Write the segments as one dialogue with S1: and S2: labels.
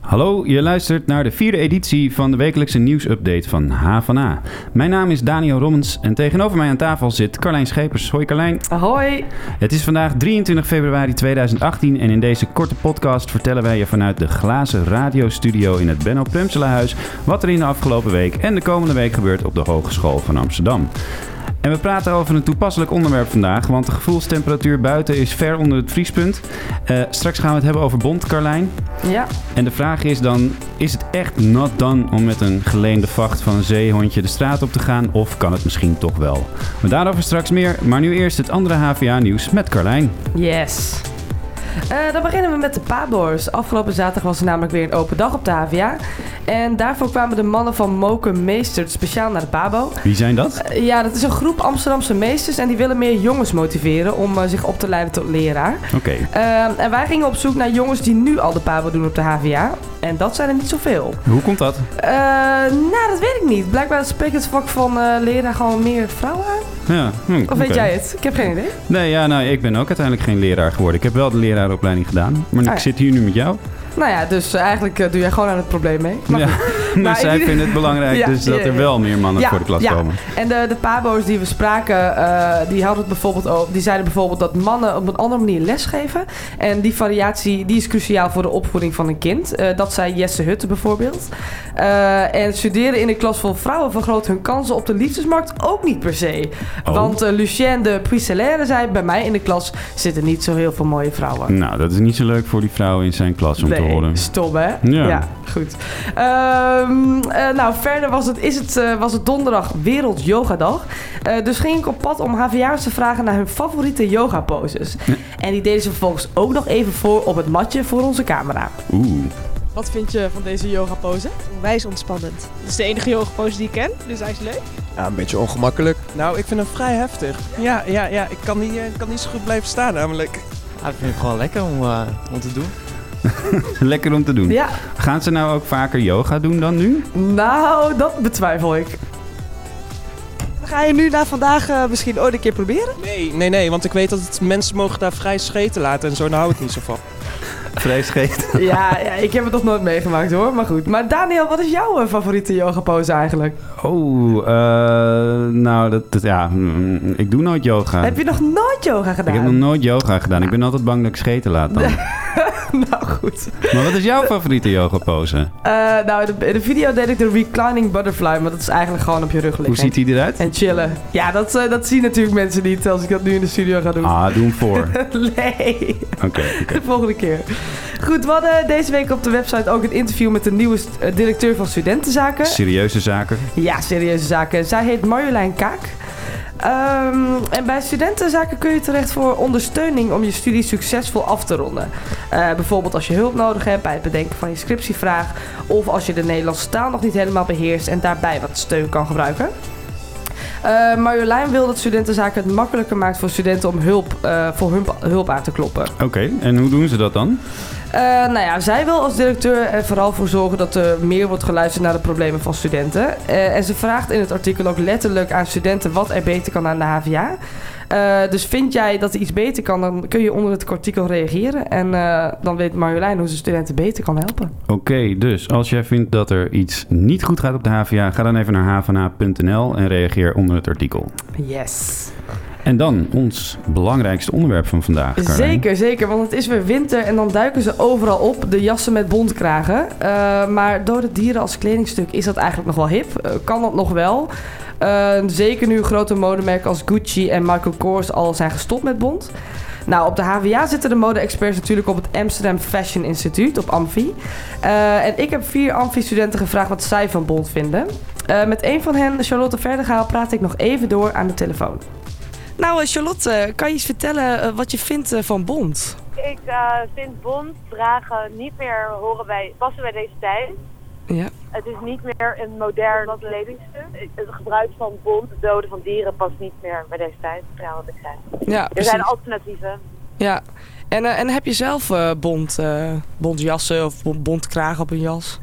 S1: Hallo, je luistert naar de vierde editie van de wekelijkse nieuwsupdate van HvA. Mijn naam is Daniel Rommens en tegenover mij aan tafel zit Carlijn Schepers. Hoi Carlijn.
S2: Hoi.
S1: Het is vandaag 23 februari 2018 en in deze korte podcast vertellen wij je vanuit de glazen radiostudio in het Benno Premselenhuis wat er in de afgelopen week en de komende week gebeurt op de Hogeschool van Amsterdam. En we praten over een toepasselijk onderwerp vandaag, want de gevoelstemperatuur buiten is ver onder het vriespunt. Eh, straks gaan we het hebben over bond, Carlijn.
S2: Ja,
S1: En de vraag is dan, is het echt not done om met een geleende vacht van een zeehondje de straat op te gaan? Of kan het misschien toch wel? Maar daarover straks meer, maar nu eerst het andere HVA-nieuws met Carlijn.
S2: yes. Eh, dan beginnen we met de Paboers. Afgelopen zaterdag was er namelijk weer een open dag op de HVA. En daarvoor kwamen de mannen van Moken Meestert speciaal naar de Pabo.
S1: Wie zijn dat?
S2: Eh, ja, dat is een groep Amsterdamse meesters en die willen meer jongens motiveren om eh, zich op te leiden tot leraar.
S1: Oké.
S2: Eh, en wij gingen op zoek naar jongens die nu al de Pabo doen op de HVA. En dat zijn er niet zoveel.
S1: Hoe komt dat?
S2: Eh, nou, dat weet ik niet. Blijkbaar spreekt het vak van eh, leraar gewoon meer vrouwen aan.
S1: Ja, hm,
S2: Of
S1: oké.
S2: weet jij het? Ik heb geen idee.
S1: Nee, ja, nou, ik ben ook uiteindelijk geen leraar geworden. Ik heb wel de leraaropleiding gedaan, maar
S2: Ah,
S1: ik
S2: ja.
S1: zit hier nu met jou.
S2: Nou ja, dus eh, eigenlijk eh, doe jij gewoon aan het probleem mee. Maar
S1: ja, maar
S2: Nou,
S1: zij
S2: ik-
S1: vinden het belangrijk
S2: Ja,
S1: dus dat
S2: ja,
S1: er
S2: ja.
S1: wel meer mannen
S2: Ja,
S1: voor de klas
S2: ja.
S1: komen.
S2: En de, de pabo's die we spraken, eh, die, hadden het bijvoorbeeld ook, die zeiden bijvoorbeeld dat mannen op een andere manier lesgeven. En die variatie die is cruciaal voor de opvoeding van een kind. Eh, dat zei Jesse Hutte bijvoorbeeld. Eh, en studeren in een klas vol vrouwen vergroot hun kansen op de liefdesmarkt ook niet per se.
S1: Oh.
S2: Want eh, Lucien de Puisselaire zei, bij mij in de klas zitten niet zo heel veel mooie vrouwen.
S1: Nou, dat is niet zo leuk voor die vrouwen in zijn klas om te
S2: nee,
S1: horen.
S2: Stom, hè?
S1: Ja.
S2: goed. Ehm, eh, nou, verder was het, is het, eh, was het donderdag Wereld Yogadag. Eh, dus ging ik op pad om HVA'ers te vragen naar hun favoriete yoga poses. En die deden ze vervolgens ook nog even voor op het matje voor onze camera.
S1: Oeh.
S3: Wat vind je van deze yoga pose?
S4: Onwijs ontspannend.
S3: Het is de enige yoga pose die ik ken, dus hij is leuk.
S5: Ja, een beetje ongemakkelijk.
S6: Nou, ik vind hem vrij heftig. Ja, ja, ja. Ik kan niet, eh, kan niet zo goed blijven staan namelijk.
S7: Ja, ik vind het gewoon lekker om, eh, om te doen.
S1: Lekker om te doen.
S2: Ja,
S1: Gaan ze nou ook vaker yoga doen dan nu?
S2: nou, dat betwijfel ik.
S4: Ga je nu na vandaag eh, misschien ooit een keer proberen?
S6: Nee, nee, nee. Want ik weet dat het, mensen mogen daar vrij scheten laten en zo. Daar hou ik niet zo van.
S1: Vreesgeest.
S2: ja, ja, ik heb het nog nooit meegemaakt hoor, maar goed. Maar Daniel, wat is jouw eh, favoriete yoga pose eigenlijk?
S1: Oh, eh, nou, dat, dat- ja, mm, ik doe nooit yoga.
S2: Heb je nog nooit yoga
S1: Ah. ik
S2: gedaan?
S1: heb nog nooit yoga gedaan. Ik ben altijd bang dat ik scheten laat dan.
S2: Nou goed.
S1: Maar wat is jouw favoriete yoga pose?
S2: Eh, nou, in de, in de video deed ik de reclining butterfly, maar dat is eigenlijk gewoon op je rug liggen.
S1: Hoe ziet die eruit?
S2: En chillen. Ja, dat, eh, dat zien natuurlijk mensen niet als ik dat nu in de studio ga doen.
S1: Ah, doe hem voor.
S2: Nee,
S1: Oké. oké.
S2: de volgende keer. Goed, we hadden deze week op de website ook een interview met de nieuwe st- eh, directeur van studentenzaken.
S1: Serieuze zaken.
S2: Ja, serieuze zaken. Zij heet Marjolein Kaak. Ehm, en bij studentenzaken kun je terecht voor ondersteuning om je studie succesvol af te ronden. Eh, bijvoorbeeld als je hulp nodig hebt bij het bedenken van je scriptievraag. Of als je de Nederlandse taal nog niet helemaal beheerst en daarbij wat steun kan gebruiken. Eh, Marjolein wil dat studentenzaken het makkelijker maakt voor studenten om hulp, eh, voor hun hulp aan te kloppen.
S1: Oké, en hoe doen ze dat dan?
S2: Eh, nou ja, zij wil als directeur er vooral voor zorgen dat er meer wordt geluisterd naar de problemen van studenten. Eh, en ze vraagt in het artikel ook letterlijk aan studenten wat er beter kan aan de HVA. Eh, dus vind jij dat er iets beter kan, dan kun je onder het artikel reageren. En eh, dan weet Marjolein hoe ze studenten beter kan helpen.
S1: Oké, dus als jij vindt dat er iets niet goed gaat op de HVA, ga dan even naar hvna.nl en reageer onder het artikel.
S2: Yes.
S1: En dan ons belangrijkste onderwerp van vandaag. Carlijn.
S2: Zeker, zeker. Want het is weer winter en dan duiken ze overal op. De jassen met bontkragen. Eh, maar dode dieren als kledingstuk, is dat eigenlijk nog wel hip? Eh, kan dat nog wel? Eh, zeker nu grote modemerken als Gucci en Michael Kors al zijn gestopt met bont. Nou, op de HVA zitten de mode-experts natuurlijk op het Amsterdam Fashion Instituut, op Amfi. Eh, en ik heb vier Amfi-studenten gevraagd wat zij van bont vinden. Eh, met een van hen, Charlotte Verdegaal, praat ik nog even door aan de telefoon. Nou, Charlotte, kan je eens vertellen eh, wat je vindt van bont?
S8: Ik eh, vind bont dragen niet meer horen bij, passen bij deze tijd.
S2: Ja.
S8: Het is niet meer een modern kledingstuk. Het gebruik van bont, het doden van dieren, past niet meer bij deze tijd. Ja, wat ik zei.
S2: Ja,
S8: Er
S2: precies.
S8: zijn alternatieven.
S2: ja. En, eh, en heb je zelf eh bont, eh, bontjassen of bon- bontkragen op een jas?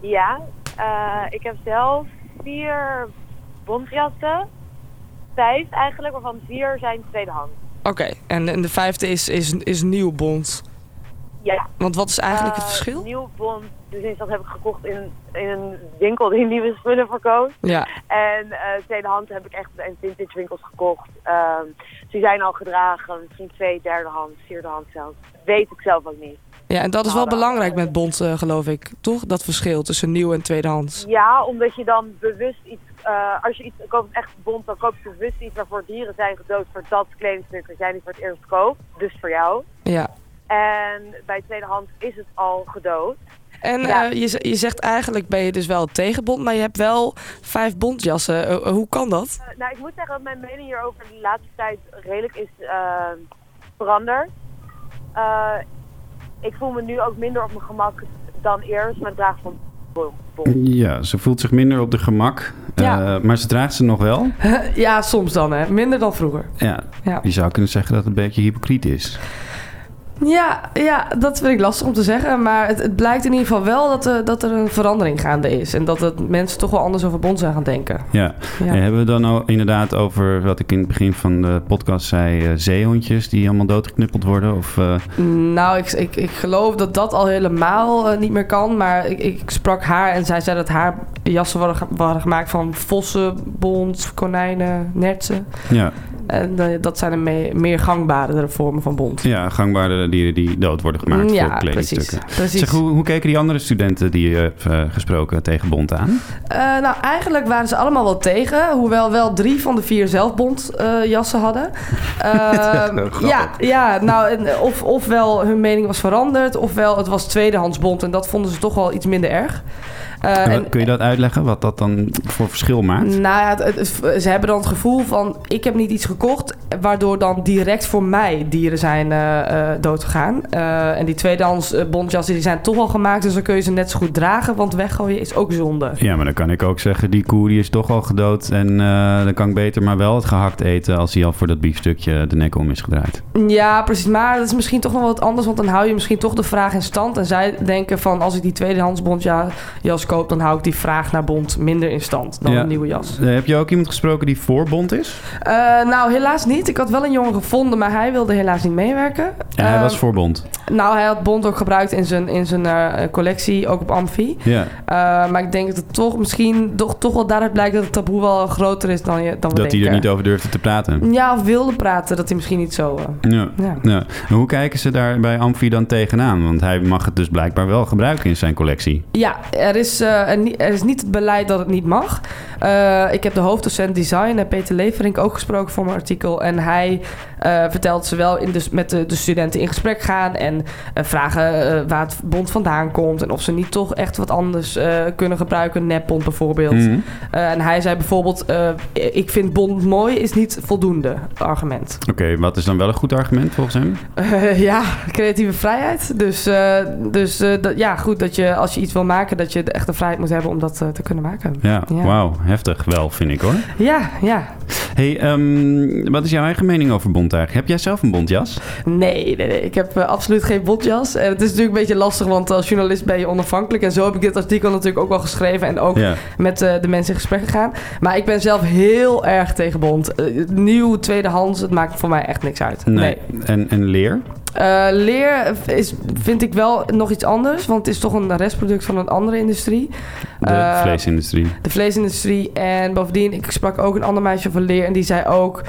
S8: Ja, eh, ik heb zelf vier bontjassen. Vijf eigenlijk, waarvan vier zijn tweedehands.
S2: Oké, en, en de vijfde is, is, is nieuw bont.
S8: Ja,
S2: Want wat is eigenlijk het
S8: Eh,
S2: verschil?
S8: Nieuw bont. Dus dat heb ik gekocht in, in een winkel die nieuwe spullen verkoopt.
S2: Ja,
S8: En eh tweedehand heb ik echt in vintage winkels gekocht. Ehm, ze zijn al gedragen, misschien twee, derdehand, vierdehand zelfs. Weet ik zelf ook niet.
S2: ja, en dat is wel
S8: Hadden
S2: belangrijk
S8: andere-
S2: met bont, eh, geloof ik. Toch? Dat verschil tussen nieuw en tweedehands.
S8: Ja, omdat je dan bewust iets... eh, als je iets koopt echt bont, dan koop je bewust iets waarvoor dieren zijn gedood. Voor dat kledingstukken zijn die voor het eerst koopt. Dus voor jou.
S2: Ja.
S8: En bij tweedehand is het al gedood.
S2: En
S8: Ja.
S2: eh, je, z- je zegt eigenlijk ben je dus wel tegen bont, maar je hebt wel vijf bontjassen. Eh, eh, hoe kan dat?
S8: Eh, nou, ik moet zeggen dat mijn mening hierover de laatste tijd redelijk is eh, veranderd. Eh, ik voel me nu ook minder op mijn gemak dan eerst met het dragen van bom.
S1: Ja, ze voelt zich minder op de gemak.
S2: Ja.
S1: eh, maar ze draagt ze nog wel.
S2: ja, soms dan hè. Minder dan vroeger.
S1: Ja,
S2: Ja.
S1: je zou kunnen zeggen dat het een beetje hypocriet is.
S2: Ja, ja, dat vind ik lastig om te zeggen. Maar het, het blijkt in ieder geval wel dat, eh, dat er een verandering gaande is. En dat het mensen toch wel anders over bond zijn gaan denken.
S1: Ja.
S2: Ja.
S1: En hebben we dan al inderdaad over wat ik in het begin van de podcast zei, eh, zeehondjes die allemaal doodgeknuppeld worden? Of, eh,
S2: Nou, ik, ik, ik geloof dat dat al helemaal eh, niet meer kan. Maar ik, ik sprak haar en zij zei dat haar jassen waren, ge- waren gemaakt van vossen, bont, konijnen, nertsen.
S1: ja,
S2: En eh, dat zijn de me- meer gangbare vormen van bont.
S1: ja, gangbare dieren die dood worden gemaakt voor
S2: precies.
S1: kledingstukken.
S2: precies.
S1: Zeg, hoe, hoe keken die andere studenten die je hebt eh, gesproken tegen Bond aan?
S2: Eh, nou, eigenlijk waren ze allemaal wel tegen. Hoewel wel drie van de vier zelfbond eh, jassen hadden. Ehm,
S1: grappig.
S2: ja, ja, nou, en of, ofwel hun mening was veranderd. Ofwel het was tweedehands bond. En dat vonden ze toch wel iets minder erg. Eh,
S1: En
S2: en-
S1: wat- kun je dat uitleggen, wat dat dan voor verschil maakt?
S2: nou ja, het- het- ze hebben dan het gevoel van... ik heb niet iets gekocht... waardoor dan direct voor mij dieren zijn eh, eh, doodgegaan. Eh, en die tweedehands eh, bondjassen die zijn toch al gemaakt... dus dan kun je ze net zo goed dragen... want weggooien is ook zonde.
S1: Ja, maar dan kan ik ook zeggen, die koe die is toch al gedood en eh, dan kan ik beter maar wel het gehakt eten als hij al voor dat biefstukje de nek om is gedraaid.
S2: Ja, precies. Maar dat is misschien toch nog wat anders. Want dan hou je misschien toch de vraag in stand. En zij denken van als ik die tweedehands bondjas koop, dan hou ik die vraag naar bond minder in stand dan
S1: Ja.
S2: een nieuwe jas.
S1: Eh, heb je ook iemand gesproken die voor Bond is?
S2: Eh, nou, helaas niet. Ik had wel een jongen gevonden, maar hij wilde helaas niet meewerken.
S1: Ja, hij
S2: Ehm,
S1: was voor Bond.
S2: Nou, hij had bond ook gebruikt in zijn, in zijn eh, collectie, ook op Amfi.
S1: Ja,
S2: Eh, maar ik denk dat het toch misschien toch, toch wel daaruit blijkt dat het taboe wel groter is dan, je, dan we
S1: dat hij
S2: denken.
S1: er niet over durfde te praten.
S2: Ja, of wilde praten, dat hij misschien niet zo... eh,
S1: Ja.
S2: ja.
S1: Ja. En hoe kijken ze daar bij Amfi dan tegenaan? Want hij mag het dus blijkbaar wel gebruiken in zijn collectie.
S2: Ja, er is, eh, een nie- er is niet het beleid dat het niet mag. Eh, ik heb de hoofddocent design, eh, Peter Leverink, ook gesproken voor mijn artikel. En hij eh, vertelt ze wel in de, met de, de studenten in gesprek gaan. En eh, vragen eh, waar het bond vandaan komt. En of ze niet toch echt wat anders eh, kunnen gebruiken. Nepbond bijvoorbeeld.
S1: Mhm.
S2: Eh, en hij zei bijvoorbeeld, eh, ik vind bond mooi is niet voldoende argument.
S1: Oké, wat is dan wel een goed argument volgens hem?
S2: Eh, ja, creatieve vrijheid. Dus, eh, dus eh, dat, ja, goed dat je als je iets wil maken, dat je de echte vrijheid moet hebben om dat eh, te kunnen maken.
S1: Ja,
S2: Ja.
S1: wauw. Heftig wel, vind ik hoor.
S2: Ja, ja.
S1: hey, ehm, wat is jouw eigen mening over Bond eigenlijk? Heb jij zelf een Bondjas?
S2: Nee, nee, nee. ik heb eh, absoluut geen botjas. En het is natuurlijk een beetje lastig, want als journalist ben je onafhankelijk. En zo heb ik dit artikel natuurlijk ook wel geschreven en ook
S1: Ja.
S2: met eh, de mensen in gesprek gegaan. Maar ik ben zelf heel erg tegen bont. Eh, nieuw, tweedehands, het maakt voor mij echt niks uit.
S1: Nee. En, en leer?
S2: Eh, leer is, vind ik wel nog iets anders, want het is toch een restproduct van een andere industrie.
S1: De
S2: Eh,
S1: vleesindustrie.
S2: de vleesindustrie. En bovendien, ik sprak ook een ander meisje van leer. En die zei ook,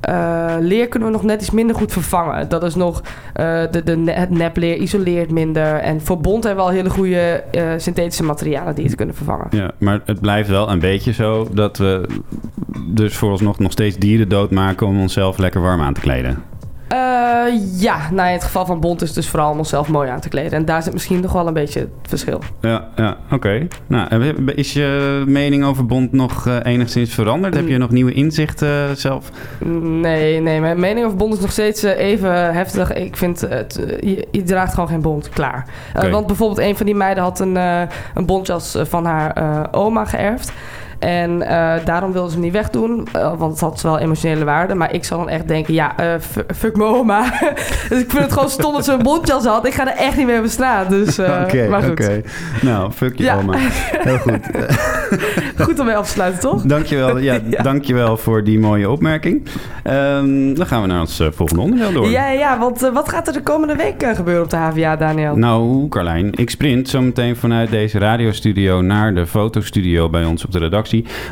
S2: eh, leer kunnen we nog net iets minder goed vervangen. Dat is nog, eh, de, de, ne- het nepleer isoleert minder. En voor bont hebben we al hele goede eh, synthetische materialen die het kunnen vervangen.
S1: Ja, maar het blijft wel een beetje zo dat we dus vooralsnog nog steeds dieren doodmaken om onszelf lekker warm aan te kleden.
S2: Eh, ja, nou in het geval van bont is het dus vooral om onszelf mooi aan te kleden. En daar zit misschien nog wel een beetje het verschil.
S1: Ja, ja oké. Nou, en is je mening over Bond nog eh, enigszins veranderd? Heb je nog nieuwe inzichten eh, zelf?
S2: Nee, nee, mijn mening over bond is nog steeds eh, even heftig. Ik vind, het, eh, je, je draagt gewoon geen bond, klaar. Eh,
S1: Oké.
S2: want bijvoorbeeld een van die meiden had een, eh, een bondjas eh, van haar eh, oma geërfd. En eh, daarom wilden ze hem niet wegdoen, eh, want het had wel emotionele waarde. Maar ik zal dan echt denken, ja, eh, f- fuck mijn oma. dus ik vind het gewoon stom dat ze een bontjas had. Ik ga er echt niet mee op straat. Dus, eh,
S1: Oké,
S2: maar goed.
S1: oké. Nou, fuck je
S2: Ja.
S1: oma. Heel goed.
S2: Goed om mee af te sluiten, toch?
S1: Dankjewel, ja, dankjewel voor die mooie opmerking. Ehm, dan gaan we naar ons eh, volgende onderdeel door.
S2: Ja, ja, want eh, wat gaat er de komende week eh, gebeuren op de HVA, Daniel?
S1: Nou, Carlijn, ik sprint zo meteen vanuit deze radiostudio naar de fotostudio bij ons op de redactie.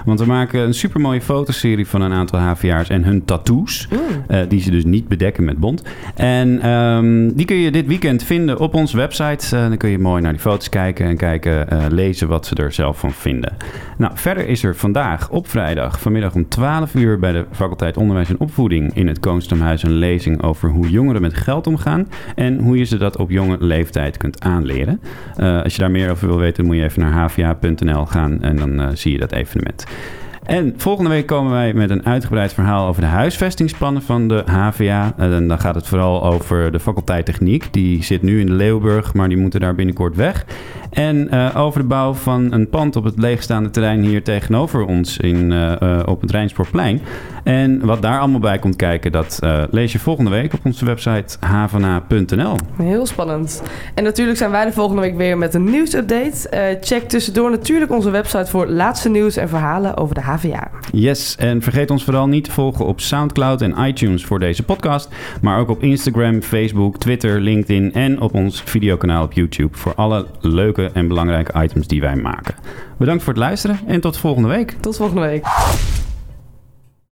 S1: Want we maken een supermooie fotoserie van een aantal HVA'ers en hun tattoos. eh, die ze dus niet bedekken met bont. En ehm, die kun je dit weekend vinden op onze website. Eh, dan kun je mooi naar die foto's kijken en kijken, eh, lezen wat ze er zelf van vinden. Nou, verder is er vandaag op vrijdag vanmiddag om 12 uur bij de faculteit Onderwijs en Opvoeding in het Koonstamhuis een lezing over hoe jongeren met geld omgaan en hoe je ze dat op jonge leeftijd kunt aanleren. Eh, als je daar meer over wil weten, moet je even naar hva.nl gaan en dan eh, zie je dat evenement. En volgende week komen wij met een uitgebreid verhaal over de huisvestingsplannen van de HVA. Eh, En dan gaat het vooral over de faculteit techniek. Die zit nu in Leeuwburg, maar die moeten daar binnenkort weg. En eh, over de bouw van een pand op het leegstaande terrein hier tegenover ons in, eh, eh, op het Rijnspoorplein. En wat daar allemaal bij komt kijken, dat eh, lees je volgende week op onze website havana.nl.
S2: Heel spannend. En natuurlijk zijn wij de volgende week weer met een nieuwsupdate. Eh, check tussendoor natuurlijk onze website voor laatste nieuws en verhalen over de HVA.
S1: Yes, en vergeet ons vooral niet te volgen op SoundCloud en iTunes voor deze podcast. Maar ook op Instagram, Facebook, Twitter, LinkedIn en op ons videokanaal op YouTube. Voor alle leuke en belangrijke items die wij maken. Bedankt voor het luisteren en tot volgende week.
S2: Tot volgende week.